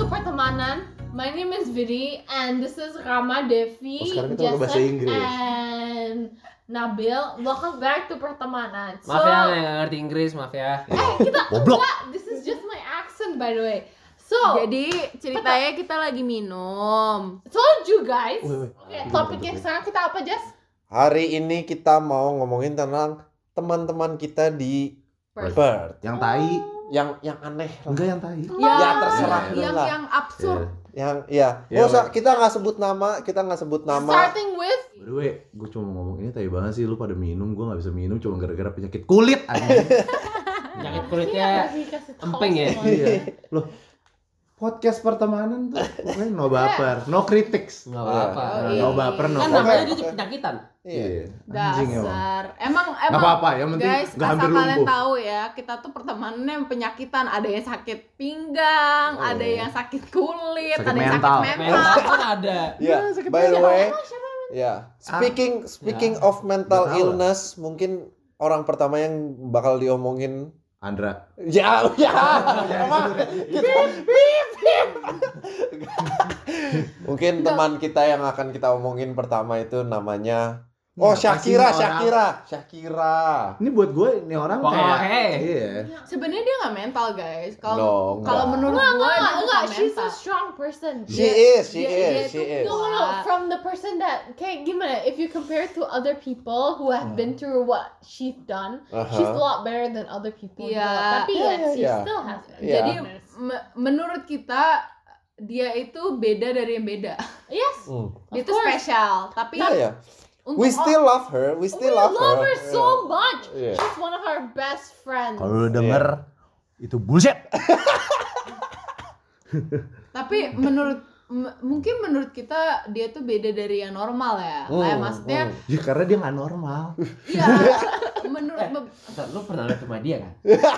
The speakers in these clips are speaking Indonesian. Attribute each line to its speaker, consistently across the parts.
Speaker 1: pertemanan. My name is Viri and this is Rama Devi,
Speaker 2: Oh, sekarang kita pakai bahasa Inggris.
Speaker 1: and Nabil. Welcome back to pertemanan.
Speaker 3: Maaf ya yang nggak ngerti Inggris, maaf ya.
Speaker 1: eh kita
Speaker 2: Goblok.
Speaker 1: enggak, this is just my accent by the way. So,
Speaker 4: Jadi ceritanya kita lagi minum.
Speaker 1: told you guys.
Speaker 2: Woi, woi.
Speaker 1: Oke, topiknya sekarang kita apa, Jess?
Speaker 5: Hari ini kita mau ngomongin tentang teman-teman kita di
Speaker 4: Perth.
Speaker 5: Perth
Speaker 2: Yang tai,
Speaker 5: yang yang aneh lah.
Speaker 2: enggak yang tai.
Speaker 6: Iya.
Speaker 5: Ya, terserah lu
Speaker 4: yang
Speaker 5: lah.
Speaker 4: yang absurd.
Speaker 5: yang ya
Speaker 2: Ya,
Speaker 5: nggak usah kita nggak sebut nama kita nggak sebut nama
Speaker 1: Starting with
Speaker 2: By the way, gue cuma mau ngomong ini tai banget sih lu pada minum, gue nggak bisa minum cuma gara-gara penyakit kulit anjing.
Speaker 3: Penyakit kulitnya emping ya?
Speaker 2: Iya. Loh, podcast pertemanan tuh pokoknya no baper, no critics.
Speaker 3: Nggak apa-apa.
Speaker 1: Oh,
Speaker 2: Nah,
Speaker 1: iya.
Speaker 2: no baper, no
Speaker 3: Kan
Speaker 5: Oke,
Speaker 3: namanya
Speaker 2: baper.
Speaker 3: dia
Speaker 5: oke.
Speaker 3: penyakitan.
Speaker 5: iya
Speaker 2: Anjing emang.
Speaker 4: Dasar. Emang
Speaker 2: Gak
Speaker 4: emang
Speaker 2: apa-apa, yang penting
Speaker 4: guys,
Speaker 2: gak
Speaker 4: asal
Speaker 2: hampir
Speaker 4: kalian
Speaker 2: lumpuh.
Speaker 4: tahu ya, kita tuh pertemanannya penyakitan, ada yang sakit pinggang,
Speaker 2: Oh.
Speaker 4: ada yang sakit kulit,
Speaker 2: Sakit
Speaker 4: ada yang
Speaker 2: mental.
Speaker 4: sakit mental.
Speaker 3: Mental kan ada.
Speaker 5: ya
Speaker 2: Nah, sakit
Speaker 5: by the
Speaker 2: banget.
Speaker 5: way ya
Speaker 2: Ah,
Speaker 5: speaking
Speaker 2: ya.
Speaker 5: speaking of mental
Speaker 2: Nggak tahu.
Speaker 5: illness mungkin orang pertama yang bakal diomongin
Speaker 2: Andra,
Speaker 5: ya ya Apa? mungkin teman kita yang akan kita omongin pertama itu namanya
Speaker 2: Apa
Speaker 5: oh
Speaker 2: sih
Speaker 5: Shakira
Speaker 2: ini orang?
Speaker 5: Shakira Shakira
Speaker 2: Ini buat gue ini orang kayak
Speaker 3: Wah, hey.
Speaker 2: iya.
Speaker 4: Sebenarnya dia nggak mental, guys. Kalau
Speaker 5: no
Speaker 4: kalau
Speaker 5: enggak.
Speaker 4: menurut
Speaker 1: Enggak,
Speaker 4: gue
Speaker 1: enggak,
Speaker 4: dia
Speaker 1: enggak.
Speaker 4: bukan
Speaker 1: oh She's a
Speaker 4: mental.
Speaker 1: strong person.
Speaker 5: she is she
Speaker 1: Dia-
Speaker 5: is
Speaker 1: dia
Speaker 5: she
Speaker 1: tuh-
Speaker 5: is
Speaker 1: No, no, no. From the person that, kayak gimana? If you compare to other people who
Speaker 5: Mm.
Speaker 1: have been through what she's done, she's a
Speaker 5: Aha.
Speaker 1: lot better than other people.
Speaker 4: Iya.
Speaker 1: juga. Tapi yet she
Speaker 5: Iya.
Speaker 1: still has. it.
Speaker 5: Iya.
Speaker 4: Jadi me- menurut kita dia itu beda dari yang beda.
Speaker 1: yes.
Speaker 5: Hmm.
Speaker 1: Of
Speaker 4: Dia itu
Speaker 1: course.
Speaker 4: spesial, tapi
Speaker 5: Iya, iya.
Speaker 4: untuk oh,
Speaker 5: we still love her we
Speaker 1: We
Speaker 5: still
Speaker 1: love,
Speaker 5: love,
Speaker 1: her so much.
Speaker 5: Iya.
Speaker 1: She's one of our best friends.
Speaker 2: Kalau lu denger itu bullshit.
Speaker 4: tapi menurut m- mungkin menurut kita dia tuh beda dari yang normal ya. Kayak
Speaker 5: Hmm,
Speaker 4: maksudnya
Speaker 5: hmm.
Speaker 2: Ya karena dia nggak normal.
Speaker 4: iya menurut be-
Speaker 3: Bentar, lu pernah lihat rumah dia kan?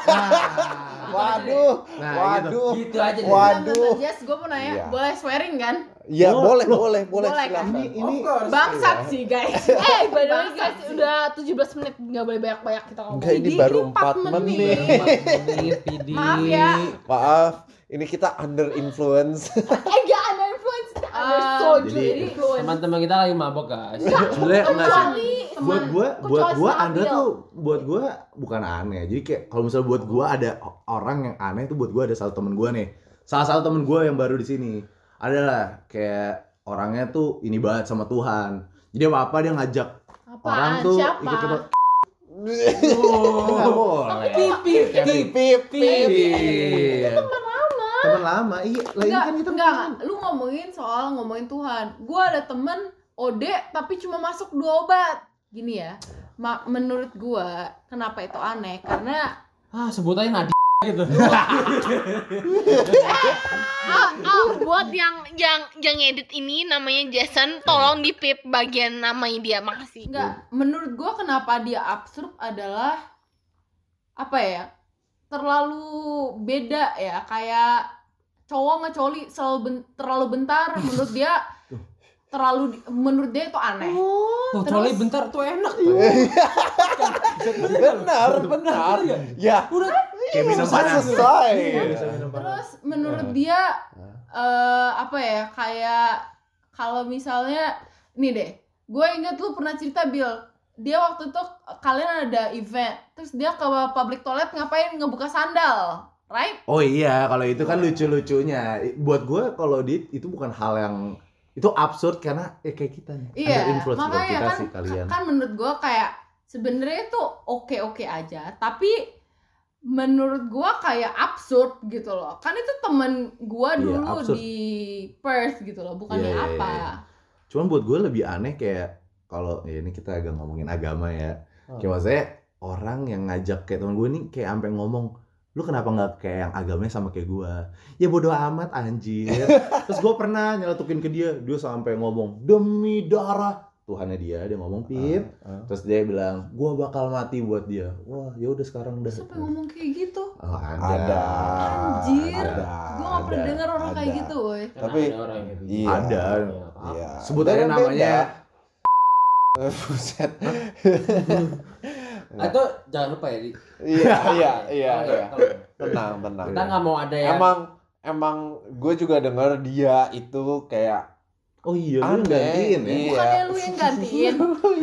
Speaker 5: waduh
Speaker 2: Nah, gitu.
Speaker 5: waduh
Speaker 3: Gitu aja deh.
Speaker 4: Bentar,
Speaker 5: Wah. Waduh.
Speaker 4: bentar, Jess, gue mau nanya,
Speaker 5: Iya.
Speaker 4: boleh swearing kan?
Speaker 5: ya
Speaker 2: Boleh,
Speaker 5: boleh
Speaker 2: loh.
Speaker 5: boleh boleh
Speaker 4: Boleh, kan?
Speaker 5: silakan
Speaker 2: Ini ini
Speaker 4: Bangsat sih guys.
Speaker 1: Eh, by the way
Speaker 4: Bangsat
Speaker 1: guys,
Speaker 4: sih.
Speaker 1: udah 17 menit nggak boleh banyak-banyak kita ngomong.
Speaker 5: Enggak, ini
Speaker 4: Jadi
Speaker 5: baru
Speaker 4: ini
Speaker 5: 4
Speaker 4: empat
Speaker 5: menit.
Speaker 4: menit.
Speaker 3: Ini PD.
Speaker 4: Maaf ya.
Speaker 5: Maaf, ini kita under influence.
Speaker 1: Eh, enggak, under influence, under
Speaker 4: Um,
Speaker 1: soju
Speaker 2: jadi-
Speaker 1: influence.
Speaker 3: Teman-teman kita lagi mabok guys.
Speaker 2: sebenarnya nggak sih.
Speaker 1: Kecuali teman-
Speaker 2: Buat gue, buat
Speaker 1: kecuali
Speaker 2: gue
Speaker 1: sama
Speaker 2: Andra
Speaker 1: Bill.
Speaker 2: tuh, buat gue bukan aneh. Jadi kayak kalau misalnya buat gue ada orang yang aneh itu buat gue ada satu temen gue nih. Salah satu temen gue yang baru di sini adalah kayak orangnya tuh ini banget sama Tuhan. Jadi apa apa dia ngajak
Speaker 1: Apaan?
Speaker 2: orang tuh
Speaker 1: Siapa?
Speaker 2: ikut ikut.
Speaker 3: Wow.
Speaker 4: Oh.
Speaker 3: Pipip,
Speaker 5: Pip, pip.
Speaker 2: Teman lama. Teman Iya. lama. Iya, lah ini
Speaker 4: Enggak,
Speaker 2: kan kita
Speaker 4: enggak, enggak. Lu ngomongin soal ngomongin Tuhan. Gua ada temen OD tapi cuma masuk dua obat. Gini ya, ma- menurut gua kenapa itu aneh? Karena
Speaker 3: Ah, sebut aja Nadi gitu.
Speaker 7: Ah, ah, buat yang yang yang edit ini namanya Jason,
Speaker 2: Iya.
Speaker 7: tolong di pip bagian namanya dia, makasih.
Speaker 4: enggak, menurut gua kenapa dia absurd adalah apa ya? Terlalu beda ya, kayak cowok ngecoli selalu ben- terlalu bentar menurut dia terlalu di- menurut dia itu aneh.
Speaker 6: Oh,
Speaker 3: Tuh,
Speaker 4: Oh, Terus?
Speaker 3: coli Oh, bentar tuh enak.
Speaker 5: Iya. Benar, benar. Ya,
Speaker 2: kayak minum
Speaker 4: Iya,
Speaker 2: panas.
Speaker 5: selesai.
Speaker 4: Terus menurut dia eh apa ya kayak kalau misalnya nih deh, gue inget lu pernah cerita Bill, dia waktu itu kalian ada event, terus dia ke public toilet ngapain ngebuka sandal, right?
Speaker 2: Oh iya, kalau itu kan lucu-lucunya. Buat gue kalau di itu bukan hal yang itu absurd karena ya kayak kita nih.
Speaker 4: Iya,
Speaker 2: Ada influence buat
Speaker 4: makanya
Speaker 2: kita
Speaker 4: kan-
Speaker 2: sih kalian.
Speaker 4: Kan menurut gue kayak sebenarnya itu oke oke aja, tapi menurut gue kayak absurd gitu loh, kan itu temen gue
Speaker 2: Iya,
Speaker 4: dulu
Speaker 2: absurd.
Speaker 4: di Perth gitu loh, bukannya
Speaker 2: Iya, iya,
Speaker 4: apa?
Speaker 2: iya. Cuman buat gue lebih aneh kayak kalau ya ini kita agak ngomongin agama ya.
Speaker 4: Oh.
Speaker 2: Kayak maksudnya orang yang ngajak kayak temen gue nih kayak sampai ngomong lu kenapa nggak kayak yang agamanya sama kayak gue ya bodoh amat anjir terus gue pernah nyeletukin ke dia dia sampai ngomong demi darah Tuhannya dia dia
Speaker 4: Ah.
Speaker 2: ngomong pip terus dia bilang gue bakal mati buat dia wah ya udah sekarang udah
Speaker 4: Siapa yang ngomong kayak gitu?
Speaker 2: Oh, ada.
Speaker 5: Ada.
Speaker 4: Anjir.
Speaker 5: Ada.
Speaker 4: Gue gak
Speaker 2: ada,
Speaker 4: pernah
Speaker 2: Iya.
Speaker 4: denger orang kayak
Speaker 5: ada.
Speaker 4: gitu, woy.
Speaker 5: Tapi-
Speaker 3: Ada orang yang gitu.
Speaker 5: Iya.
Speaker 2: Ada.
Speaker 5: Iya.
Speaker 2: Sebut aja
Speaker 5: Dan
Speaker 2: namanya.
Speaker 5: beda. Eh, Buset.
Speaker 3: Atau Ah, jangan lupa ya. Di.
Speaker 5: Iya, iya, iya,
Speaker 3: Kalau-
Speaker 5: iya.
Speaker 3: kalau-
Speaker 2: Iya.
Speaker 5: Tenang, tenang.
Speaker 4: ya.
Speaker 3: Kita nggak mau ada yang
Speaker 5: Emang emang gue juga dengar dia itu kayak
Speaker 2: Oh iya, lu yang
Speaker 5: aneh.
Speaker 2: gantiin ya.
Speaker 5: Iya.
Speaker 4: Bukannya lu yang gantiin.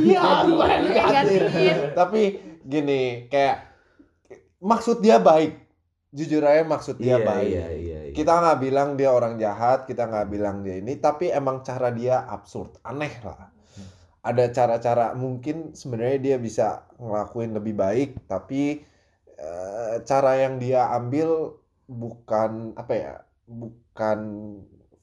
Speaker 5: Iya,
Speaker 3: Gantiin.
Speaker 5: gue yang
Speaker 4: Lu yang gantiin.
Speaker 5: Tapi gini, kayak maksud dia baik. Jujur aja maksud dia baik.
Speaker 2: Iya, iya, iya.
Speaker 5: Kita nggak bilang dia orang jahat, kita nggak bilang dia ini, tapi emang cara dia absurd, aneh lah. Ada cara-cara mungkin sebenarnya dia bisa ngelakuin lebih baik, tapi eh, cara yang dia ambil bukan apa ya, bukan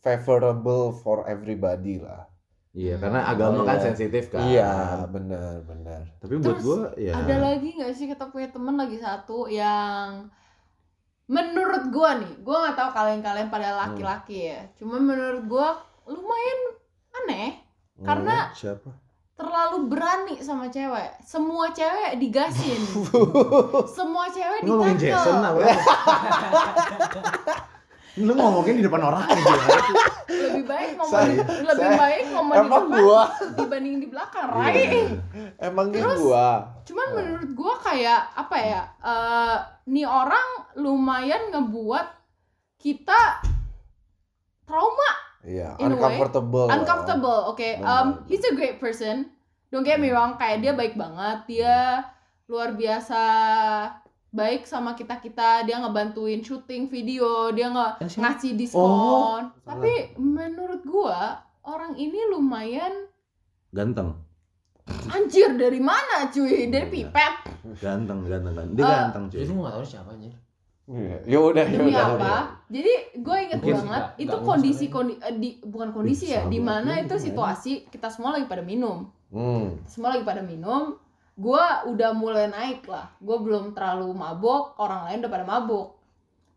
Speaker 5: favorable for everybody lah.
Speaker 2: Iya, karena agama kan
Speaker 5: Iya.
Speaker 2: sensitif kan.
Speaker 5: Iya, benar-benar.
Speaker 2: Tapi buat
Speaker 4: Terus,
Speaker 2: gua ya
Speaker 4: Ada lagi nggak sih kita punya temen lagi satu yang menurut gua nih, gua nggak tahu kalian-kalian pada
Speaker 2: Hmm.
Speaker 4: laki-laki ya. Cuman menurut gua lumayan aneh.
Speaker 5: Hmm.
Speaker 4: Karena-
Speaker 2: siapa?
Speaker 4: terlalu berani sama cewek. Semua cewek digasin. Semua cewek
Speaker 2: Lu ngomongin Jason
Speaker 4: ditakel.
Speaker 2: apa? lu ngomongin di depan orang aja.
Speaker 4: Lebih baik ngomong
Speaker 5: Saya-
Speaker 4: di- lebih
Speaker 5: saya-
Speaker 4: baik ngomong di
Speaker 5: Emang
Speaker 4: depan
Speaker 5: gua,
Speaker 4: dibanding di belakang,
Speaker 2: Iya.
Speaker 4: right?
Speaker 5: emangnya
Speaker 4: Terus-
Speaker 5: gua.
Speaker 4: Cuman menurut gua kayak apa ya? eh nih orang lumayan ngebuat kita trauma,
Speaker 5: Iya,
Speaker 4: In a way,
Speaker 5: uncomfortable.
Speaker 4: uncomfortable. Oke, um, he's a great person. Don't get me wrong, kayak dia baik banget, dia luar biasa baik sama kita kita dia ngebantuin syuting video dia nge ngasih diskon.
Speaker 2: Oh.
Speaker 4: Tapi menurut gua orang ini lumayan
Speaker 2: Ganteng,
Speaker 4: anjir dari mana cuy? Dari pipet.
Speaker 2: ganteng, ganteng, ganteng. Dia
Speaker 4: Eh,
Speaker 2: ganteng cuy.
Speaker 3: Jadi gue gak tau siapa anjir.
Speaker 5: Iya, Ya udah, ya
Speaker 4: Demi
Speaker 5: udah.
Speaker 4: apa? Jadi gue inget
Speaker 3: Mungkin
Speaker 4: banget
Speaker 3: nggak-
Speaker 4: itu
Speaker 3: nggak mau
Speaker 4: kondisi
Speaker 3: sebenarnya.
Speaker 4: kondi, eh, di, bukan kondisi ya,
Speaker 2: Ih,
Speaker 4: di
Speaker 2: sama
Speaker 4: mana
Speaker 2: aja,
Speaker 4: itu
Speaker 2: gimana?
Speaker 4: situasi kita semua lagi pada minum.
Speaker 5: Hmm.
Speaker 4: Semua lagi pada minum. Gua udah mulai naik lah. Gue belum terlalu mabok, orang lain udah pada mabok.
Speaker 2: Ya,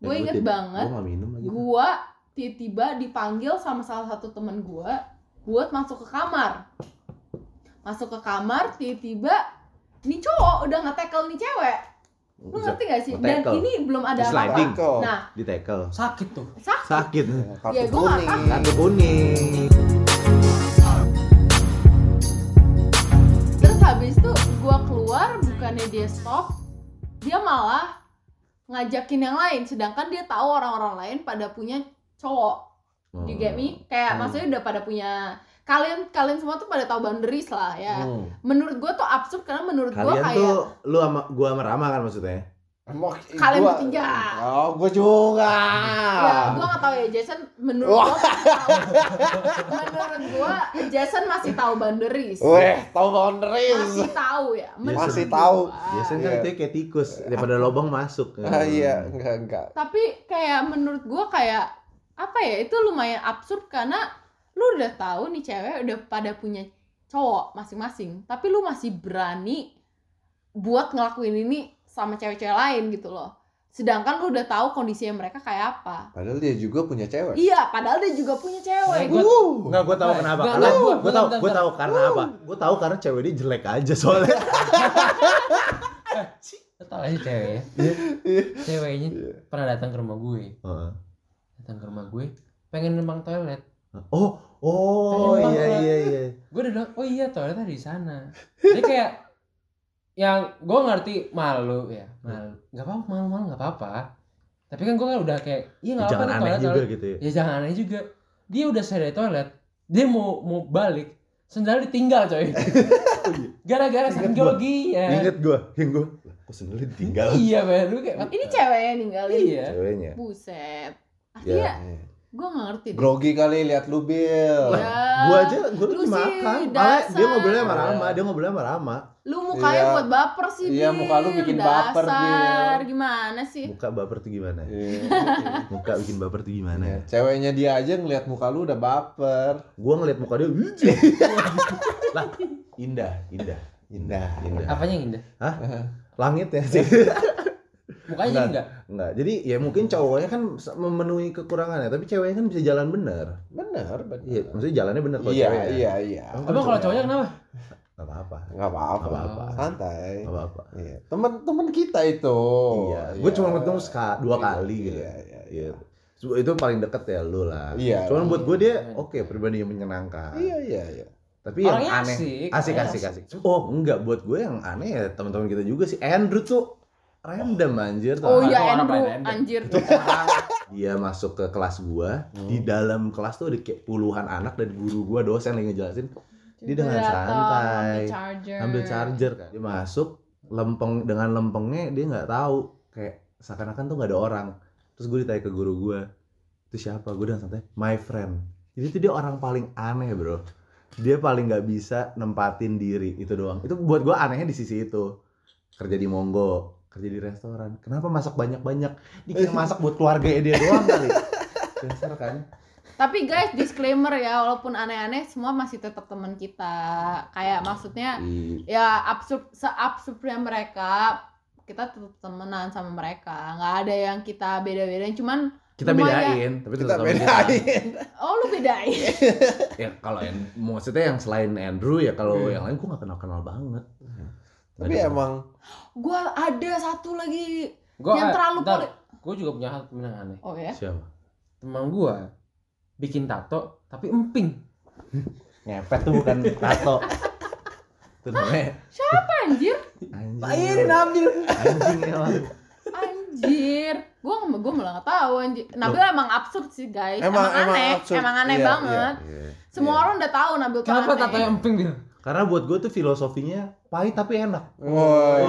Speaker 4: Gue
Speaker 2: gua
Speaker 4: inget
Speaker 2: tidak- gitu.
Speaker 4: banget
Speaker 2: Gua gak minum lagi.
Speaker 4: gua tiba-tiba dipanggil sama salah satu temen gua buat masuk ke kamar masuk ke kamar tiba-tiba nih cowok udah nge-tackle nih cewek lu ngerti gak sih dan
Speaker 2: Nge-tackle.
Speaker 4: ini belum ada apa-apa
Speaker 2: Sliding.
Speaker 5: Tackle.
Speaker 4: nah
Speaker 2: Di tackle.
Speaker 3: Sakit tuh.
Speaker 4: sakit
Speaker 2: Sakit.
Speaker 5: Kartu
Speaker 4: Ya, gua
Speaker 5: kuning.
Speaker 4: nggak
Speaker 2: Kartu kuning.
Speaker 4: terus habis itu gua keluar bukannya dia stop dia malah ngajakin yang lain sedangkan dia tahu orang-orang lain pada punya cowok Do you get me? Kayak
Speaker 5: Hmm.
Speaker 4: maksudnya udah pada punya kalian kalian semua tuh pada tahu boundaries lah ya.
Speaker 5: Hmm.
Speaker 4: Menurut gue tuh absurd karena menurut gue
Speaker 2: Kalian
Speaker 4: kayak
Speaker 2: tuh lu sama gua sama Rama kan maksudnya?
Speaker 5: Emang
Speaker 4: Kalian
Speaker 5: gua-
Speaker 4: bertiga.
Speaker 5: Oh, gua juga.
Speaker 4: ya gue gak tahu ya Jason menurut
Speaker 5: ah. Wah.
Speaker 4: gue menurut gue Jason masih tahu boundaries.
Speaker 5: Weh, tahu boundaries.
Speaker 4: Masih tahu ya. menurut
Speaker 2: Masih
Speaker 4: gua.
Speaker 5: tahu.
Speaker 2: Jason kan
Speaker 5: Iya.
Speaker 2: itu kayak tikus daripada lobang masuk.
Speaker 5: Ah, iya, enggak enggak.
Speaker 4: Tapi kayak menurut gue kayak apa ya itu lumayan absurd karena lu udah tahu nih cewek udah pada punya cowok masing-masing tapi lu masih berani buat ngelakuin ini sama cewek-cewek lain gitu loh sedangkan lu udah tahu kondisinya mereka kayak apa
Speaker 5: Padahal dia juga punya cewek.
Speaker 4: iya padahal dia juga punya cewek
Speaker 3: Gua-
Speaker 5: Uh.
Speaker 2: Enggak, gue tahu
Speaker 3: Nah,
Speaker 2: kenapa.
Speaker 3: enggak,
Speaker 2: Karena
Speaker 3: enggak,
Speaker 2: gue
Speaker 3: gua-
Speaker 2: gue
Speaker 3: gua-
Speaker 2: tahu,
Speaker 3: enggak,
Speaker 2: gue
Speaker 3: enggak.
Speaker 2: tahu karena apa? Gue tahu karena cewek dia jelek aja soalnya.
Speaker 3: Lo tau gak sih ceweknya? ya.
Speaker 2: Iya.
Speaker 3: Ceweknya pernah datang ke rumah gue.
Speaker 2: Heeh.
Speaker 3: Datang ke rumah gue. Pengen numpang toilet.
Speaker 2: oh, oh iya
Speaker 3: Tanya banget.
Speaker 2: iya iya.
Speaker 3: Gue udah bilang, oh iya toilet ada di sana. Dia kayak yang gue ngerti malu
Speaker 2: Iya.
Speaker 3: ya malu nggak apa-apa malu malu nggak apa-apa tapi kan gue kan udah kayak iya nggak apa-apa
Speaker 2: Jangan
Speaker 3: nih
Speaker 2: aneh
Speaker 3: toilet
Speaker 2: juga
Speaker 3: toilet
Speaker 2: gitu ya.
Speaker 3: ya jangan aneh juga dia udah selesai dari toilet dia mau mau balik sendal ditinggal coy gara-gara
Speaker 2: Oh iya. Ingat gua.
Speaker 4: Iya.
Speaker 3: psikologinya
Speaker 2: Ingat gue, yang gue, kok sendalnya ditinggal
Speaker 3: iya baru kayak "What?"
Speaker 4: ini ceweknya ninggalin
Speaker 3: iya
Speaker 2: ceweknya. Ya.
Speaker 4: buset
Speaker 5: Iya.
Speaker 4: artinya gue gak ngerti deh
Speaker 5: Grogi kali lihat lu, Bill.
Speaker 4: Ya,
Speaker 2: Gue aja, gue
Speaker 4: lu
Speaker 2: lagi
Speaker 4: sih
Speaker 2: makan. Malah dia
Speaker 4: dasar.
Speaker 2: ngobrolnya sama Rama, dia ngobrolnya sama Rama.
Speaker 4: lu mukanya
Speaker 5: Iya.
Speaker 4: buat baper sih
Speaker 5: Iya,
Speaker 4: Bil.
Speaker 5: muka lu bikin baper,
Speaker 4: Dasar,
Speaker 5: Bil.
Speaker 4: gimana sih
Speaker 2: Muka baper tuh gimana?
Speaker 5: Iya.
Speaker 2: Muka bikin baper tuh
Speaker 5: Iya,
Speaker 2: gimana?
Speaker 5: Ceweknya dia aja ngelihat muka lu udah baper.
Speaker 2: Gue ngeliat muka dia, lah indah, indah,
Speaker 5: Indah.
Speaker 2: indah.
Speaker 3: apanya yang indah
Speaker 2: Langit ya sih.
Speaker 3: mukanya
Speaker 2: Enggak.
Speaker 3: jadi enggak
Speaker 2: Enggak, jadi ya mungkin cowoknya kan se- memenuhi kekurangannya, tapi ceweknya kan bisa jalan bener.
Speaker 5: Bener, bener.
Speaker 2: Iya, maksudnya jalannya bener kalau
Speaker 5: Iya,
Speaker 2: cewek. ya.
Speaker 5: iya, iya.
Speaker 2: Emang
Speaker 3: Emang kalau cowoknya kenapa?
Speaker 2: Gak apa-apa.
Speaker 5: Enggak apa-apa.
Speaker 2: Nggak apa-apa.
Speaker 5: Santai.
Speaker 2: Gak apa-apa.
Speaker 5: Iya. Teman-teman kita itu.
Speaker 2: iya, gue cuma ketemu sekali dua kali gitu.
Speaker 5: Iya, iya, iya.
Speaker 2: Iya. Su- Itu paling deket ya lu lah.
Speaker 5: Iya.
Speaker 2: Cuman buat gue dia
Speaker 3: Iya.
Speaker 2: oke pribadi yang menyenangkan.
Speaker 5: Iya, iya, iya.
Speaker 2: Tapi yang
Speaker 3: Orangnya
Speaker 2: aneh.
Speaker 3: asik.
Speaker 2: Asik,
Speaker 3: orangnya
Speaker 2: asik, asik. Oh enggak, buat gue yang aneh ya teman-teman kita juga sih. Andrew tuh random anjir Tanpa-
Speaker 4: Oh iya
Speaker 3: Itu orang
Speaker 4: Andrew,
Speaker 3: paling random.
Speaker 4: anjir.
Speaker 2: dia masuk ke kelas gua
Speaker 5: Hmm.
Speaker 2: di dalam kelas tuh ada kayak puluhan anak dan guru gua dosen yang ngejelasin Dia dengan
Speaker 1: Datang,
Speaker 2: santai,
Speaker 1: ambil charger.
Speaker 5: Iya.
Speaker 2: ambil charger kan dia masuk lempeng dengan lempengnya dia nggak tahu kayak seakan-akan tuh nggak ada orang terus gue ditanya ke guru gue itu siapa gue dengan santai my friend jadi itu dia orang paling aneh bro dia paling nggak bisa nempatin diri itu doang itu buat gue anehnya di sisi itu kerja di Monggo kerja di restoran kenapa masak banyak-banyak dia kira masak buat keluarganya dia doang kali dasar kan
Speaker 4: Tapi guys, disclaimer ya, walaupun aneh-aneh semua masih tetap teman kita. Kayak maksudnya
Speaker 2: Ih,
Speaker 4: ya absurd seabsurdnya mereka kita tetap temenan sama mereka nggak ada yang kita beda-bedain cuman
Speaker 2: kita
Speaker 4: Lumayan.
Speaker 2: bedain tapi
Speaker 5: Kita
Speaker 2: tetap sama
Speaker 5: bedain.
Speaker 4: oh lu bedain
Speaker 2: ya kalau yang maksudnya yang selain Andrew ya kalau yang lain gue nggak kenal kenal banget
Speaker 5: Tapi
Speaker 2: Ada-
Speaker 5: emang
Speaker 4: gue ada satu lagi
Speaker 3: Gua,
Speaker 4: yang terlalu poli
Speaker 3: Gue juga punya hal temen yang aneh.
Speaker 4: oh ya
Speaker 2: siapa
Speaker 3: Teman gue bikin tato tapi emping.
Speaker 2: ngepet tuh bukan tato itu namanya
Speaker 4: siapa anjir
Speaker 2: anjing ya.
Speaker 5: Nabil.
Speaker 2: anjing ya. emang
Speaker 4: anjir gue gue malah nggak tahu anjir Nabil emang absurd sih guys emang,
Speaker 5: Emang emang
Speaker 4: aneh
Speaker 5: absurd.
Speaker 4: emang aneh
Speaker 5: Iya,
Speaker 4: banget
Speaker 5: iya.
Speaker 4: semua
Speaker 5: iya.
Speaker 4: orang udah tahu Nabil tuh
Speaker 3: Kenapa
Speaker 4: aneh.
Speaker 3: tato yang emping dia?
Speaker 2: karena buat gue tuh filosofinya pahit tapi enak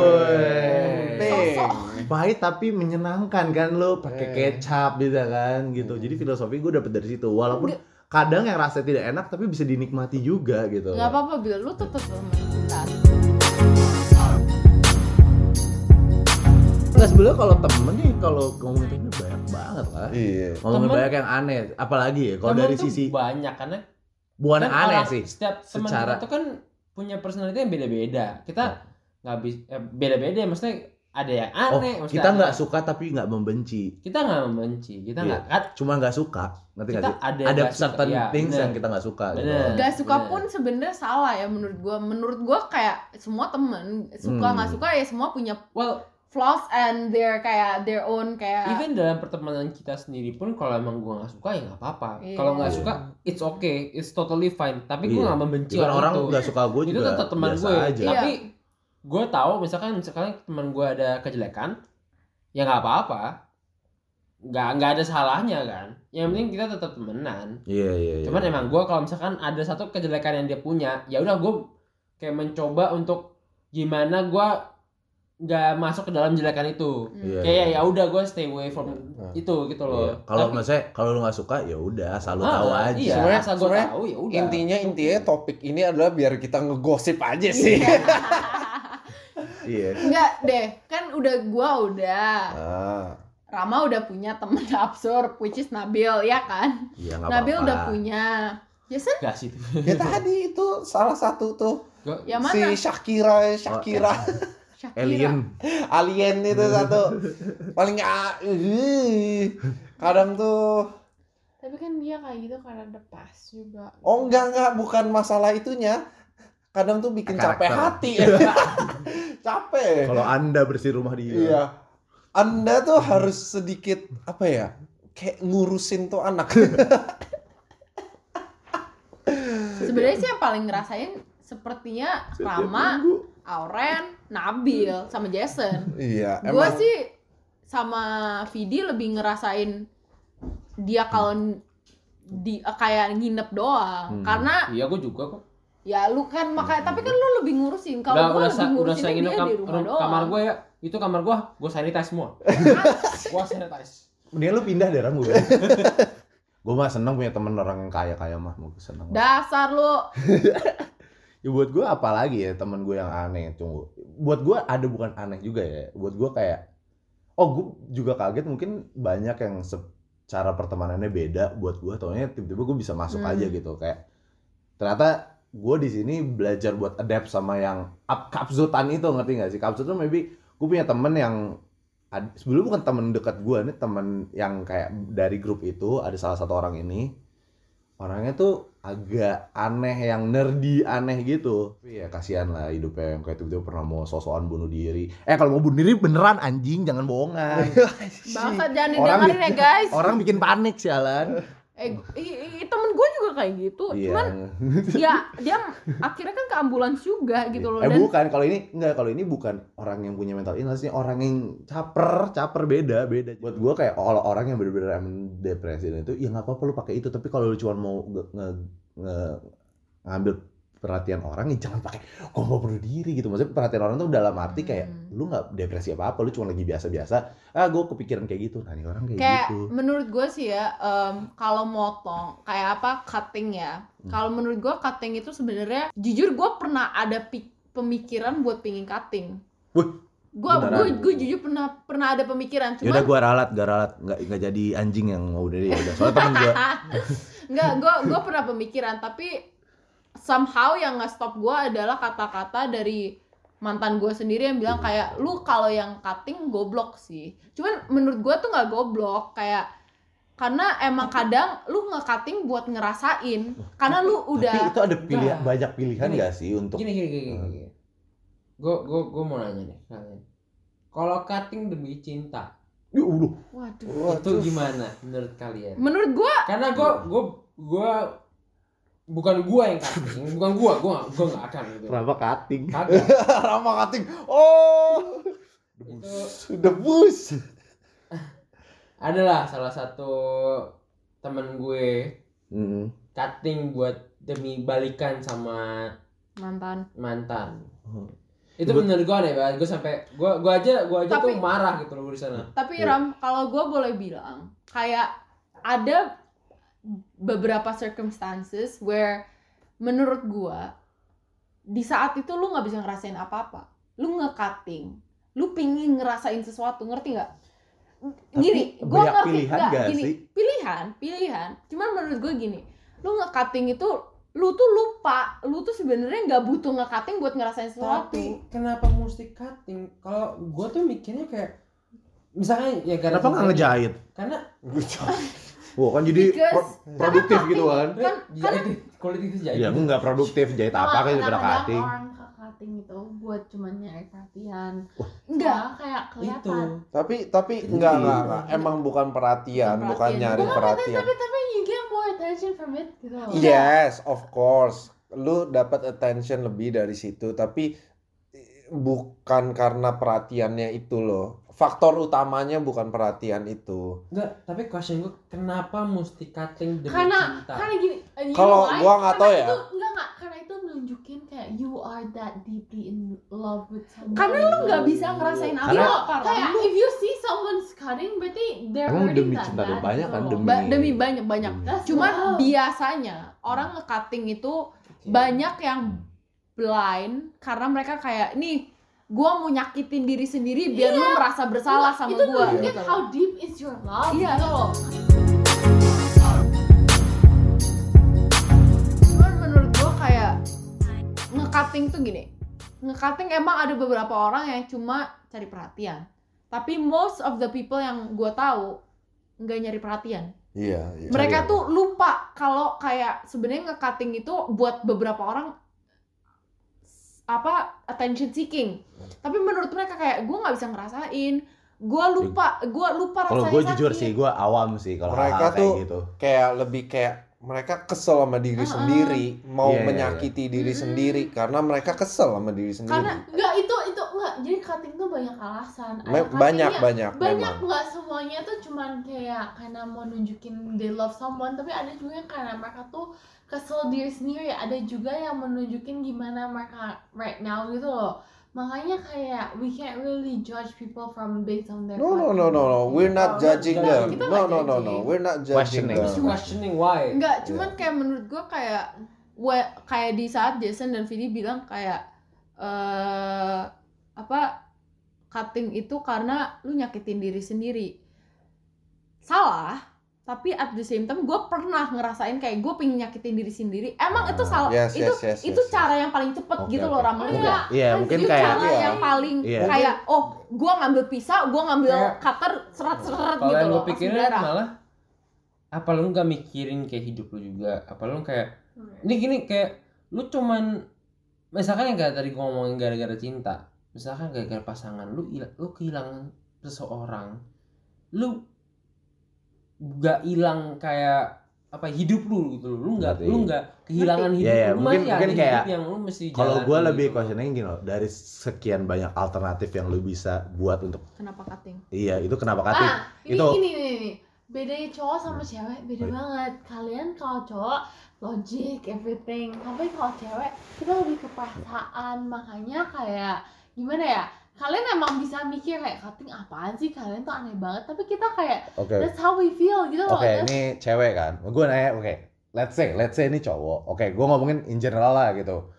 Speaker 5: Woi.
Speaker 4: Sosok.
Speaker 2: pahit tapi menyenangkan kan lo pakai
Speaker 5: Eh.
Speaker 2: kecap gitu kan gitu jadi filosofi gue dapet dari situ walaupun kadang yang rasanya tidak enak tapi bisa dinikmati juga gitu
Speaker 4: nggak apa-apa Bil lu tetap temen kita
Speaker 2: Nah sebenarnya kalau temen nih kalau ngomongin temen banyak banget lah.
Speaker 5: Iya.
Speaker 2: Ngomongin
Speaker 3: Temen-
Speaker 2: banyak yang aneh, apalagi ya kalau
Speaker 3: Temen
Speaker 2: dari
Speaker 3: tuh
Speaker 2: sisi
Speaker 3: banyak karena
Speaker 2: bukan
Speaker 3: kan
Speaker 2: aneh
Speaker 3: orang-
Speaker 2: sih.
Speaker 3: Setiap teman
Speaker 2: Secara- Nah.
Speaker 3: kita tuh kan punya personality yang beda-beda. Kita nggak bisa beda-beda maksudnya ada yang
Speaker 2: Oh,
Speaker 3: aneh, maksudnya
Speaker 2: kita
Speaker 3: ada
Speaker 2: nggak
Speaker 3: yang-
Speaker 2: suka tapi nggak membenci,
Speaker 3: kita nggak membenci, kita
Speaker 2: Iya.
Speaker 3: nggak kat-
Speaker 2: cuma nggak suka. Nanti
Speaker 3: kita
Speaker 2: nggak sih?
Speaker 3: ada
Speaker 2: Ada
Speaker 3: nggak suka.
Speaker 2: certain
Speaker 3: Ya,
Speaker 2: things
Speaker 3: bener.
Speaker 2: yang kita nggak suka. Gitu.
Speaker 3: Bener.
Speaker 4: Gak suka
Speaker 3: Bener.
Speaker 4: pun sebenarnya salah ya menurut gue. Menurut gue kayak semua temen suka
Speaker 2: Hmm.
Speaker 4: nggak suka ya semua punya
Speaker 3: Well,
Speaker 4: flaws and their kayak their own kayak
Speaker 3: even dalam pertemanan kita sendiri pun kalau emang gua nggak suka ya nggak apa-apa.
Speaker 4: Iya.
Speaker 3: Kalau nggak suka it's okay, it's totally fine.
Speaker 2: Iya.
Speaker 3: Tapi gua nggak membenci
Speaker 2: Even orang
Speaker 3: itu.
Speaker 2: nggak suka gue
Speaker 3: Itu
Speaker 2: juga
Speaker 3: tetap teman
Speaker 2: biasa
Speaker 3: gue.
Speaker 2: aja.
Speaker 4: Iya.
Speaker 3: Tapi gue tahu misalkan sekarang teman gue ada kejelekan, ya nggak apa-apa, nggak nggak ada salahnya kan. Yang penting kita tetap temenan.
Speaker 2: Iya iya. iya.
Speaker 3: Cuman emang gue kalau misalkan ada satu kejelekan yang dia punya, ya udah gue kayak mencoba untuk gimana gue nggak masuk ke dalam jelekan
Speaker 4: hmm.
Speaker 3: itu.
Speaker 2: Iya,
Speaker 3: Kayak
Speaker 2: iya.
Speaker 3: ya udah gue stay away from
Speaker 5: Nah.
Speaker 3: itu gitu loh.
Speaker 2: Iya. Kalau
Speaker 3: Tapi-
Speaker 2: maksudnya kalau lu nggak suka ya udah, asal lu
Speaker 3: Ah,
Speaker 2: tahu aja.
Speaker 3: Iya,
Speaker 5: Sebenarnya-
Speaker 3: asal gue
Speaker 5: sebenarnya
Speaker 3: tahu ya udah.
Speaker 5: Intinya intinya topik ini adalah biar kita ngegosip aja sih.
Speaker 2: Iya.
Speaker 4: Enggak deh, kan udah gua udah
Speaker 5: Ah.
Speaker 4: Rama udah punya temen absurd which is Nabil ya kan.
Speaker 2: Iya nggak
Speaker 4: Nabil
Speaker 2: apa-apa.
Speaker 4: udah punya. Jason
Speaker 3: Gak sih itu.
Speaker 5: Ya tadi itu salah satu tuh
Speaker 3: Gua-
Speaker 4: yang Ya mana?
Speaker 5: si Shakira, Shakira.
Speaker 4: Shakira.
Speaker 2: Alien.
Speaker 5: alien itu satu paling a- ih. kadang tuh
Speaker 1: Tapi kan dia kayak gitu karena ada pas juga.
Speaker 5: oh enggak enggak bukan masalah itunya kadang tuh bikin capek
Speaker 2: Karakter.
Speaker 5: hati capek
Speaker 2: Kalau anda bersih rumah dia.
Speaker 5: iya anda tuh harus sedikit apa ya kayak ngurusin tuh anak
Speaker 4: Sebenarnya sih yang paling ngerasain sepertinya
Speaker 2: Setiap
Speaker 4: Rama,
Speaker 2: minggu.
Speaker 4: Auren, Nabil sama Jason.
Speaker 5: iya
Speaker 4: Gua
Speaker 5: emang
Speaker 4: sih sama Vidi lebih ngerasain dia kalau di kayak nginep
Speaker 2: Hmm.
Speaker 4: doang karena
Speaker 3: Iya, gue juga kok.
Speaker 4: ya lu kan makanya tapi kan lu lebih
Speaker 3: udah
Speaker 4: ngurusin kalau
Speaker 3: udah
Speaker 4: gua lebih
Speaker 3: sa- udah
Speaker 4: ngurusin
Speaker 3: saya nginep
Speaker 4: dia
Speaker 3: kam-
Speaker 4: di rumah
Speaker 3: rum-
Speaker 4: doang
Speaker 3: kamar gue ya itu kamar gue gue sanitize semua gue sanitize
Speaker 2: Mendingan lu pindah daerah gue. gue mah seneng punya temen orang yang kaya kaya mah, mau seneng.
Speaker 4: dasar lu
Speaker 2: Ya buat gue apalagi ya temen gue yang aneh tunggu. Buat gue ada bukan aneh juga ya. Buat gue kayak oh gue juga kaget mungkin banyak yang secara pertemanannya beda buat gue. Taunya tiba-tiba gue bisa masuk
Speaker 4: Hmm.
Speaker 2: aja gitu kayak ternyata gue di sini belajar buat adapt sama yang up kapsutan itu ngerti gak sih? Kapsut tuh maybe gue punya temen yang ad- sebelum bukan temen dekat gue ini temen yang kayak dari grup itu ada salah satu orang ini orangnya tuh agak aneh yang nerdy aneh gitu tapi ya kasihan lah hidupnya yang kayak tiba-tiba pernah mau sosokan bunuh diri eh kalau mau bunuh diri beneran anjing jangan bohongan
Speaker 4: bangsat jangan
Speaker 2: Orang
Speaker 4: didengerin ya guys
Speaker 2: orang bikin panik sialan
Speaker 4: eh i- i- temen gue juga kayak gitu
Speaker 2: Iya.
Speaker 4: cuman ya dia akhirnya kan ke ambulans juga gitu loh
Speaker 2: eh
Speaker 4: dan
Speaker 2: bukan kalau ini enggak kalau ini bukan orang yang punya mental illness ini orang yang caper caper beda beda buat gua kayak kalau orang yang bener-bener emang depresi dan itu ya nggak apa-apa lu pakai itu tapi kalau lu cuma mau nge- nge- nge- ngambil perhatian orang ya jangan pakai gua mau bunuh diri gitu maksudnya perhatian orang tuh dalam arti kayak
Speaker 4: Hmm.
Speaker 2: lu nggak depresi apa apa lu cuma lagi biasa-biasa ah gua kepikiran kayak gitu nah ini orang kayak,
Speaker 4: kayak
Speaker 2: gitu
Speaker 4: menurut gue sih ya em, kalau motong kayak apa cutting ya
Speaker 2: Hmm.
Speaker 4: kalau menurut gue cutting itu sebenarnya jujur gue pernah ada pik- pemikiran buat pingin cutting
Speaker 2: Wih,
Speaker 4: gue
Speaker 2: beneran.
Speaker 4: gue gue jujur pernah pernah ada pemikiran
Speaker 2: ya udah
Speaker 4: cuman
Speaker 2: gua ralat gak ralat nggak nggak jadi anjing yang mau dari ya udah soalnya temen gua
Speaker 4: nggak gue gue pernah pemikiran tapi somehow yang nggak stop gue adalah kata-kata dari mantan gue sendiri yang bilang kayak lu kalau yang cutting goblok sih cuman menurut gue tuh nggak goblok kayak karena emang kadang lu nge-cutting buat ngerasain karena lu
Speaker 2: tapi
Speaker 4: udah
Speaker 2: itu ada pilihan
Speaker 3: Udah.
Speaker 2: banyak pilihan
Speaker 3: Gini.
Speaker 2: nggak sih untuk
Speaker 3: Gini gini gini.
Speaker 2: Hmm.
Speaker 3: gini, gini. Gue gue gue mau nanya deh kalian. Kalau cutting demi cinta
Speaker 2: Ya Allah.
Speaker 4: waduh
Speaker 3: itu gimana menurut kalian?
Speaker 4: menurut gue
Speaker 3: Karena gue gue gue bukan gua yang cutting, bukan gua, gua nggak- gua nggak akan gitu.
Speaker 2: Kenapa cutting?
Speaker 3: Kagak.
Speaker 5: Ramah kating. Oh.
Speaker 3: Itu
Speaker 5: Debus.
Speaker 3: adalah salah satu temen gue cutting buat demi balikan sama
Speaker 4: mantan
Speaker 3: mantan.
Speaker 2: Hmm.
Speaker 3: Itu
Speaker 2: Gua-
Speaker 3: bener gue aneh banget. Gue sampai gue gue aja gue aja
Speaker 4: Tapi-
Speaker 3: tuh marah gitu loh di sana.
Speaker 4: tapi
Speaker 2: Iya.
Speaker 4: ram kalau gue boleh bilang kayak ada beberapa circumstances where menurut gue di saat itu lu nggak bisa ngerasain apa-apa lu nge-cutting lu pingin ngerasain sesuatu ngerti nggak gini
Speaker 2: Tapi
Speaker 4: gue
Speaker 2: banyak
Speaker 4: ngerti
Speaker 2: pilihan
Speaker 4: nggak,
Speaker 2: nggak
Speaker 4: gini
Speaker 2: sih?
Speaker 4: pilihan pilihan cuman menurut gue gini lu nge-cutting itu lu tuh lupa lu tuh sebenarnya nggak butuh nge-cutting buat ngerasain sesuatu
Speaker 3: Tapi kenapa mesti cutting? Kalau gue tuh mikirnya kayak misalkan ya karena
Speaker 2: Kenapa nggak ngejahit?
Speaker 3: Karena
Speaker 6: Kan-
Speaker 2: Wah kan jadi
Speaker 4: Because-
Speaker 2: pro- produktif
Speaker 4: karena
Speaker 2: gitu kan?
Speaker 4: Kan-
Speaker 3: ya,
Speaker 4: karena-
Speaker 3: itu quality itu jadi.
Speaker 2: Ya nggak produktif
Speaker 4: Oh,
Speaker 2: jahit apa kan daripada
Speaker 6: kadang-kadang
Speaker 2: cutting.
Speaker 6: orang ke cutting itu buat cuman nyari perhatian
Speaker 4: enggak
Speaker 6: Soalnya kayak
Speaker 3: itu.
Speaker 6: kelihatan
Speaker 5: Tapi tapi
Speaker 2: Iya.
Speaker 5: enggak enggak enggak. Emang bukan perhatian,
Speaker 4: Bukan
Speaker 5: bukan
Speaker 4: perhatian.
Speaker 5: nyari
Speaker 6: Bukan
Speaker 5: perhatian.
Speaker 6: tapi tapi you get more attention from it gitu loh.
Speaker 4: Iya.
Speaker 5: Yes, of course. Lu dapat attention lebih dari situ, tapi eh, bukan karena perhatiannya itu loh. Faktor utamanya bukan perhatian itu.
Speaker 3: Enggak, tapi question gue kenapa mesti cutting demi
Speaker 6: karena
Speaker 3: cinta?
Speaker 6: karena gini uh, you
Speaker 5: Kalau
Speaker 6: know why?
Speaker 5: gua nggak
Speaker 6: Karena
Speaker 5: tahu ya.
Speaker 6: itu, enggak enggak karena itu nunjukin kayak you are that deeply in love with someone Gitu.
Speaker 4: karena lu nggak bisa gitu, ngerasain
Speaker 2: Karena-
Speaker 4: apa-apa Ram.
Speaker 6: kayak if you see someone's cutting berarti they're
Speaker 2: Emang
Speaker 6: already
Speaker 2: demi
Speaker 6: that
Speaker 2: cinta
Speaker 6: bad
Speaker 2: banyak
Speaker 6: gitu
Speaker 2: kan
Speaker 6: loh.
Speaker 2: demi.
Speaker 4: Ba- demi banyak banyak
Speaker 2: Mm.
Speaker 6: That's
Speaker 4: cuman
Speaker 6: love.
Speaker 4: biasanya orang nge-cutting itu
Speaker 3: Oke.
Speaker 4: banyak yang blind karena mereka kayak nih gua mau nyakitin diri sendiri biar lu merasa bersalah sama
Speaker 6: itu
Speaker 4: gua
Speaker 6: nunjukin
Speaker 4: gitu.
Speaker 5: Iya.
Speaker 6: how deep is your love
Speaker 4: Iya.
Speaker 6: gitu loh
Speaker 4: cuman menurut gua kayak nge-cutting tuh gini nge-cutting emang ada beberapa orang yang cuma cari perhatian tapi most of the people yang gua tahu nggak nyari perhatian
Speaker 5: Iya, iya.
Speaker 4: mereka
Speaker 5: Iya.
Speaker 4: tuh lupa kalau kayak sebenarnya nge-cutting itu buat beberapa orang apa attention seeking tapi menurut mereka kayak gue nggak bisa ngerasain gue lupa gue lupa
Speaker 2: Kalau
Speaker 4: rasanya
Speaker 2: gue jujur
Speaker 4: sakit.
Speaker 2: sih, gue awam sih kalau
Speaker 5: Mereka
Speaker 2: hal-hal kayak
Speaker 5: tuh-
Speaker 2: gitu.
Speaker 5: kayak lebih kayak mereka kesel sama diri
Speaker 4: Ah, ah.
Speaker 5: sendiri, mau
Speaker 2: Iya, iya,
Speaker 5: menyakiti diri
Speaker 4: Mm-mm.
Speaker 5: sendiri karena mereka kesel sama diri sendiri.
Speaker 4: karena
Speaker 6: enggak itu itu enggak jadi cutting tuh banyak alasan Ada
Speaker 5: Me- banyak
Speaker 6: cuttingnya-
Speaker 5: banyak
Speaker 6: banyak
Speaker 5: memang.
Speaker 6: nggak semuanya tuh cuman kayak karena mau nunjukin they love someone tapi ada juga yang karena mereka tuh kesel diri sendiri ada juga yang menunjukin gimana mereka right now gitu loh makanya kayak we can't really judge people from based on their
Speaker 5: No no no no no, we're not
Speaker 3: Kita-
Speaker 5: judging
Speaker 3: kita
Speaker 5: them.
Speaker 4: nggak
Speaker 5: No no no no,
Speaker 4: judging.
Speaker 5: we're not judging
Speaker 2: Questioning.
Speaker 3: Terus
Speaker 5: them.
Speaker 3: questioning why.
Speaker 4: nggak cuman kayak menurut gue kayak wa- kayak di saat Jason dan Vidi bilang kayak eh apa cutting itu karena lu nyakitin diri sendiri salah tapi at the same time gue pernah ngerasain kayak gue pengen nyakitin diri sendiri emang itu
Speaker 2: Ah,
Speaker 4: salah
Speaker 5: yes,
Speaker 4: itu
Speaker 5: yes, yes,
Speaker 4: itu
Speaker 5: yes, yes.
Speaker 4: cara yang paling cepet
Speaker 2: Oke,
Speaker 4: gitu
Speaker 2: oke.
Speaker 4: loh Ramal
Speaker 2: Mungkin-
Speaker 6: Iya,
Speaker 2: Iya
Speaker 6: kan
Speaker 2: mungkin
Speaker 6: itu
Speaker 2: kayak
Speaker 4: cara
Speaker 5: Iya.
Speaker 4: yang paling
Speaker 2: Iya.
Speaker 4: kayak oh gue ngambil pisau gue ngambil
Speaker 3: Kayak-
Speaker 4: cutter seret seret
Speaker 3: Kalau
Speaker 4: gitu
Speaker 3: yang
Speaker 4: loh
Speaker 3: gue
Speaker 4: langsung
Speaker 3: pikirin
Speaker 4: darah.
Speaker 3: malah apa lu nggak mikirin kayak hidup lu juga? Apa lu kayak ini gini kayak lu cuman misalkan yang kayak tadi gua ngomongin gara-gara cinta, misalkan gara-gara pasangan lu il- lu kehilangan seseorang, lu gak hilang kayak apa hidup lu gitu loh. Lu nggak
Speaker 2: Ngerti.
Speaker 3: lu nggak kehilangan
Speaker 2: Ngerti.
Speaker 3: hidup.
Speaker 2: Iya, iya.
Speaker 3: Lu
Speaker 2: Mungkin-
Speaker 3: masih
Speaker 2: mungkin
Speaker 3: ada
Speaker 2: kayak-
Speaker 3: hidup yang lu mesti
Speaker 2: Kalau
Speaker 3: jalani
Speaker 2: gue lebih
Speaker 3: gitu.
Speaker 2: questionnya gini loh, dari sekian banyak alternatif yang lu bisa buat untuk
Speaker 4: Kenapa cutting?
Speaker 2: iya itu kenapa kating?
Speaker 6: Ah, ini,
Speaker 2: Itu- Iya.
Speaker 6: ini, ini, ini. Bedanya cowok sama cewek beda
Speaker 2: Baik.
Speaker 6: banget. Kalian kalau cowok logic everything, tapi kalau cewek kita lebih ke perasaan. Makanya kayak gimana ya? Kalian emang bisa mikir kayak cutting apaan sih? Kalian tuh aneh banget. Tapi kita kayak
Speaker 2: Oke,
Speaker 6: that's how we feel gitu loh.
Speaker 2: Iya. oke
Speaker 4: ya.
Speaker 2: ini cewek kan, gue nanya oke, let's say let's say ini cowok, oke gue ngomongin in general lah gitu,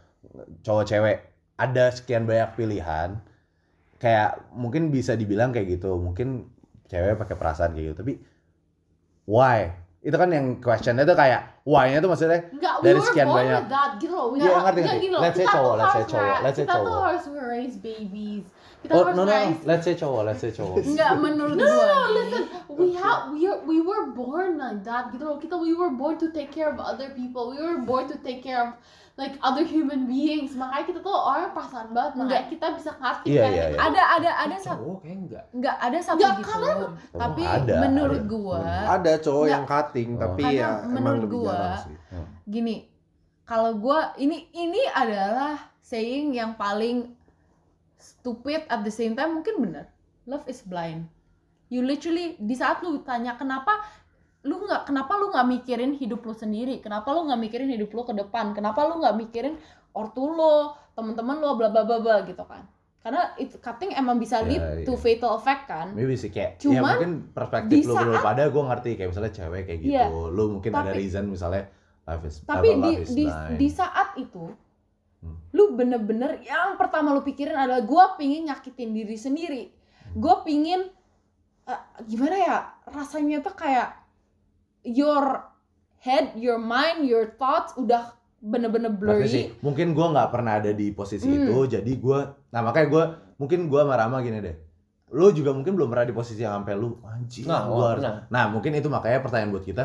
Speaker 2: cowok cewek ada sekian banyak pilihan, kayak mungkin bisa dibilang kayak gitu, mungkin cewek pakai perasaan kayak gitu, tapi why? Itu kan yang questionnya tuh kayak why-nya tuh maksudnya
Speaker 6: Enggak,
Speaker 2: Dari
Speaker 6: we were
Speaker 2: sekian
Speaker 6: born
Speaker 2: banyak.
Speaker 6: with that gitu loh. We
Speaker 2: Iya,
Speaker 6: are-
Speaker 2: ngerti,
Speaker 6: enggak
Speaker 2: ngerti.
Speaker 6: gini loh,
Speaker 2: Let's say
Speaker 6: kita tuh
Speaker 2: cowok, let's say
Speaker 6: harus
Speaker 2: cowok,
Speaker 6: ngera-
Speaker 2: let's say
Speaker 6: kita tuh
Speaker 2: cowok.
Speaker 6: harus raise babies. Kita
Speaker 2: Oh,
Speaker 6: harus
Speaker 2: no, no, no.
Speaker 6: raise
Speaker 2: Let's say cowok, let's say cowok.
Speaker 4: Enggak menurut
Speaker 6: No, no,
Speaker 4: gua.
Speaker 6: no,
Speaker 4: nih.
Speaker 6: listen. We have we are, we were born like that gitu loh. Kita we were born to take care of other people. We were born to take care of like other human beings. Makanya kita tuh orang perasaan banget. Makanya kita bisa ngerti "Ah,
Speaker 2: Iya,
Speaker 6: kan.
Speaker 2: iya, iya.
Speaker 4: Ada ada ada satu
Speaker 3: cowok kayak enggak.
Speaker 4: enggak ada satu
Speaker 6: Enggak,
Speaker 4: gitu.
Speaker 6: kalian-
Speaker 4: Tapi
Speaker 2: Ada,
Speaker 4: menurut
Speaker 2: ada.
Speaker 4: gua
Speaker 5: Ada cowok
Speaker 4: Nggak.
Speaker 5: yang cutting
Speaker 2: Oh.
Speaker 5: tapi
Speaker 4: Karena
Speaker 5: ya emang
Speaker 4: menurut
Speaker 5: lebih
Speaker 4: gua-
Speaker 5: jarang sih.
Speaker 2: Hmm.
Speaker 4: gini kalau gua ini ini adalah saying yang paling stupid at the same time mungkin bener love is blind you literally di saat lu tanya kenapa lu nggak kenapa lu nggak mikirin hidup lu sendiri kenapa lu nggak mikirin hidup lu ke depan kenapa lu nggak mikirin ortu lo teman-teman lo bla bla bla bla gitu kan karena itu cutting emang bisa
Speaker 2: Ya,
Speaker 4: lead
Speaker 2: iya.
Speaker 4: to fatal effect kan
Speaker 2: Maybe sih kayak ya
Speaker 4: Cuman,
Speaker 2: mungkin perspektif
Speaker 4: di
Speaker 2: lu belum pada gue ngerti kayak misalnya cewek kayak gitu.
Speaker 4: Iya.
Speaker 2: lu mungkin ada
Speaker 4: Tapi-
Speaker 2: reason misalnya life is
Speaker 4: tapi
Speaker 2: apa,
Speaker 4: di
Speaker 2: life is
Speaker 4: di,
Speaker 2: blind.
Speaker 4: di saat itu
Speaker 2: Hmm.
Speaker 4: lu bener-bener yang pertama lu pikirin adalah gue pingin nyakitin diri sendiri
Speaker 2: Hmm.
Speaker 4: gue pingin eh, gimana ya rasanya tuh kayak your head your mind your thoughts udah bener-bener
Speaker 2: Makanya sih,
Speaker 4: blurry
Speaker 2: mungkin gue nggak pernah ada di posisi
Speaker 4: Hmm.
Speaker 2: itu, jadi gue, nah makanya gue, mungkin gue sama Rama gini deh, lu juga mungkin belum pernah di posisi yang sampai lu anjing
Speaker 3: Nah,
Speaker 2: gua
Speaker 3: wah,
Speaker 2: harus-
Speaker 3: nah.
Speaker 2: nah mungkin itu makanya pertanyaan buat kita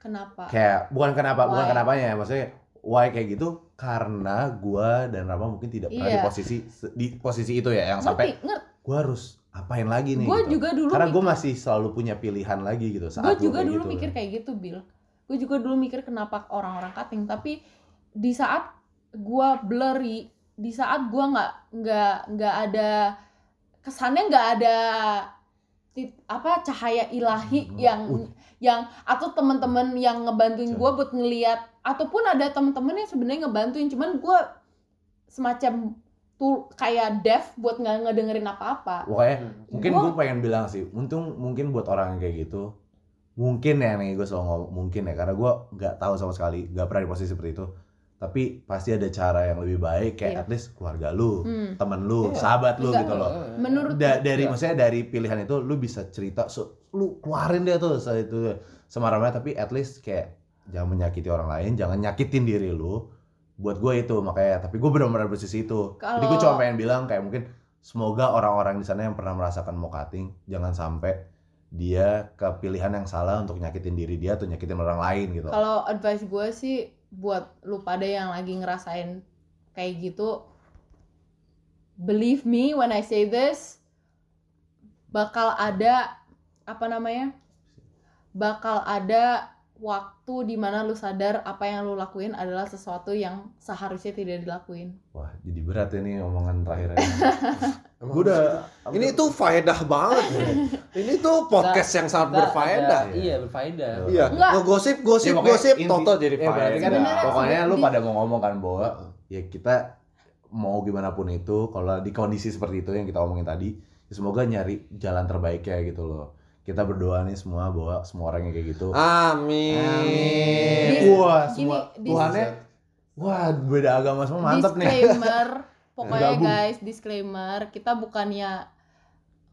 Speaker 4: kenapa
Speaker 2: kayak bukan kenapa bukan
Speaker 4: Why?
Speaker 2: kenapanya ya maksudnya why kayak gitu karena gua dan Rama mungkin tidak pernah di
Speaker 4: Iya.
Speaker 2: posisi di posisi itu ya yang sampai
Speaker 4: ngerti ngerti
Speaker 2: gue harus apain lagi nih
Speaker 4: gue
Speaker 2: gitu.
Speaker 4: juga dulu
Speaker 2: karena gue masih selalu punya pilihan lagi gitu saat gua
Speaker 4: gue juga
Speaker 2: kayak
Speaker 4: dulu
Speaker 2: gitu.
Speaker 4: mikir kayak gitu Bill gue juga dulu mikir kenapa orang-orang cutting tapi di saat gue blurry di saat gue nggak nggak nggak ada kesannya nggak ada tit- apa cahaya ilahi
Speaker 2: Hmm.
Speaker 4: yang
Speaker 2: Uh.
Speaker 4: yang atau teman-teman yang ngebantuin gue buat ngeliat ataupun ada teman-teman yang sebenarnya ngebantuin cuman gue semacam tuh kayak deaf buat nggak ngedengerin apa-apa
Speaker 2: pokoknya
Speaker 3: Hmm.
Speaker 2: mungkin
Speaker 4: Gua-
Speaker 2: gue pengen bilang sih untung mungkin buat orang yang kayak gitu mungkin ya nih gue selalu ngomong mungkin ya karena gue nggak tahu sama sekali nggak pernah di posisi seperti itu tapi pasti ada cara yang lebih baik kayak
Speaker 4: Iya.
Speaker 2: at least keluarga lu
Speaker 4: Hmm.
Speaker 2: temen lu
Speaker 3: Iya.
Speaker 2: sahabat lu
Speaker 4: Enggak,
Speaker 2: gitu loh
Speaker 4: menurut
Speaker 2: Da- dari
Speaker 3: Iya.
Speaker 2: maksudnya dari pilihan itu lu bisa cerita so, lu keluarin dia tuh saat itu semaramnya tapi at least kayak jangan menyakiti orang lain jangan nyakitin diri lu buat gue itu makanya tapi gue benar-benar posisi itu jadi gue
Speaker 4: Kalau-
Speaker 2: cuma pengen bilang kayak mungkin semoga orang-orang di sana yang pernah merasakan mau cutting jangan sampai dia ke pilihan yang salah untuk nyakitin diri dia atau nyakitin orang lain gitu
Speaker 4: Kalau advice gue sih buat lu pada yang lagi ngerasain kayak gitu, believe me when I say this, bakal ada apa namanya? Bakal ada waktu dimana lu sadar apa yang lu lakuin adalah sesuatu yang seharusnya tidak dilakuin.
Speaker 2: wah jadi berat ini omongan terakhirnya
Speaker 5: Emang
Speaker 2: gue udah
Speaker 5: Ini tuh faedah banget. ya. ini tuh podcast yang sangat
Speaker 3: Kita
Speaker 5: berfaedah.
Speaker 3: ada- Iya, berfaedah.
Speaker 5: Iya.
Speaker 4: Enggak.
Speaker 5: Ngegosip,
Speaker 2: Ya,
Speaker 5: gosip,
Speaker 2: pokoknya
Speaker 5: gosip,
Speaker 2: inti-
Speaker 5: toto jadi Iya.
Speaker 2: ya, berarti
Speaker 5: faedah.
Speaker 2: kan
Speaker 4: Sebenarnya-
Speaker 2: pokoknya lu
Speaker 4: di-
Speaker 2: pada mau ngomong kan bahwa ya kita mau gimana pun itu kalau di kondisi seperti itu yang kita omongin tadi ya semoga nyari jalan terbaiknya gitu loh kita berdoa nih semua bahwa semua orang yang kayak gitu
Speaker 5: Amin.
Speaker 4: Di-
Speaker 2: wah
Speaker 4: gini,
Speaker 2: semua
Speaker 4: di-
Speaker 2: Tuhannya wah beda agama semua Oh, mantep nih
Speaker 4: disclaimer, pokoknya
Speaker 2: Gabung.
Speaker 4: guys, disclaimer, kita bukannya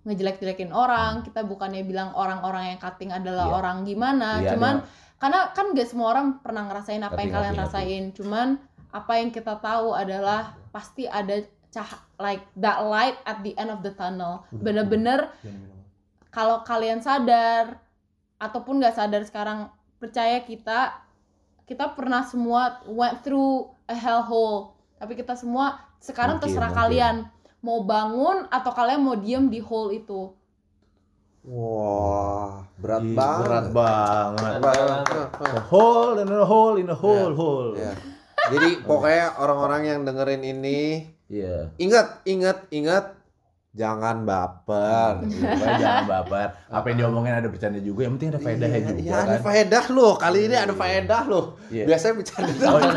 Speaker 4: ngejelek-jelekin orang, kita bukannya bilang orang-orang yang cutting adalah
Speaker 2: Iya.
Speaker 4: orang gimana,
Speaker 2: Iya,
Speaker 4: cuman karena kan gak semua orang pernah ngerasain apa yang
Speaker 2: Ngerti,
Speaker 4: kalian
Speaker 2: ngerti,
Speaker 4: rasain cuman apa yang kita tahu adalah pasti ada cah like that light at the end of the tunnel bener-bener kalau kalian sadar ataupun nggak sadar sekarang percaya kita kita pernah semua went through a hellhole tapi kita semua sekarang
Speaker 2: Mungkin,
Speaker 4: terserah
Speaker 2: mungkin.
Speaker 4: kalian mau bangun atau kalian mau diem di hole itu
Speaker 5: Wah, berat berat
Speaker 2: Ih, Berat
Speaker 5: banget.
Speaker 2: banget. Iya.
Speaker 5: Berat banget.
Speaker 2: A hole in a hole in a hole hole.
Speaker 5: Ya. Jadi pokoknya orang-orang yang dengerin ini
Speaker 2: Iya.
Speaker 5: ingat ingat ingat jangan
Speaker 2: Iya,
Speaker 5: baper. Gitu kan.
Speaker 2: Pokoknya jangan baper. Apa yang diomongin ada bercanda juga. Yang penting ada faedahnya
Speaker 5: Iya,
Speaker 2: juga
Speaker 5: iya, ada
Speaker 2: kan.
Speaker 5: faedah loh. Kali ini ada faedah loh.
Speaker 2: Iya.
Speaker 5: Biasanya bicara
Speaker 2: Oh, iya,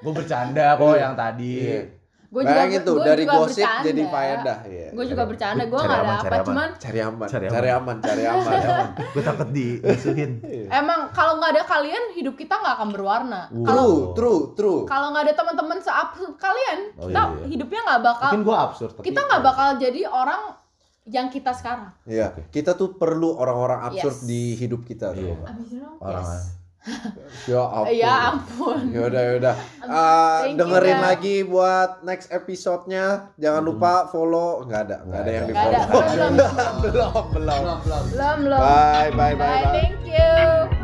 Speaker 2: Gue bercanda kok yang tadi.
Speaker 5: Iya.
Speaker 4: Gue juga
Speaker 5: Bayangin
Speaker 4: gua
Speaker 5: tuh gitu. dari
Speaker 4: juga
Speaker 5: gosip
Speaker 4: bercanda.
Speaker 5: jadi faedah. Iya.
Speaker 4: Gue juga bercanda, gue
Speaker 2: Cari
Speaker 4: gak ada
Speaker 2: aman, cari
Speaker 4: apa,
Speaker 2: aman.
Speaker 4: cuman
Speaker 5: Cari aman,
Speaker 2: Cari
Speaker 5: cari
Speaker 2: aman.
Speaker 5: aman, cari aman.
Speaker 2: Gue takut dimusuhin.
Speaker 4: emang kalau nggak ada kalian hidup kita nggak akan berwarna.
Speaker 2: Wow.
Speaker 4: Kalau
Speaker 5: True, true, true.
Speaker 4: kalau nggak ada teman-teman seabsurd kalian,
Speaker 2: Oh,
Speaker 4: kita
Speaker 2: iya.
Speaker 4: hidupnya nggak bakal
Speaker 2: Mungkin gitu. gue absurd. tapi-
Speaker 4: kita nggak bakal jadi orang yang kita sekarang.
Speaker 5: Iya, kita tuh perlu orang-orang absurd
Speaker 4: Yes.
Speaker 5: di hidup
Speaker 2: Iya.
Speaker 5: kita. tuh.
Speaker 6: Abis itu dong.
Speaker 2: Orang
Speaker 6: Yes.
Speaker 5: Ya ampun.
Speaker 4: Ya ampun.
Speaker 5: Ah, Yaudah, yaudah.
Speaker 6: Abis-
Speaker 5: Ah,
Speaker 4: Thank you,
Speaker 5: dengerin
Speaker 4: Bang.
Speaker 5: lagi buat next episode-nya. Jangan
Speaker 2: Mhm.
Speaker 5: lupa follow. Nggak ada, nggak ada yang di
Speaker 4: Nggak ada,
Speaker 5: follow.
Speaker 4: belum,
Speaker 5: belum, belum.
Speaker 4: Belum belum.
Speaker 5: Bye, bye,
Speaker 4: Bye,
Speaker 5: bye. bye.
Speaker 4: thank you.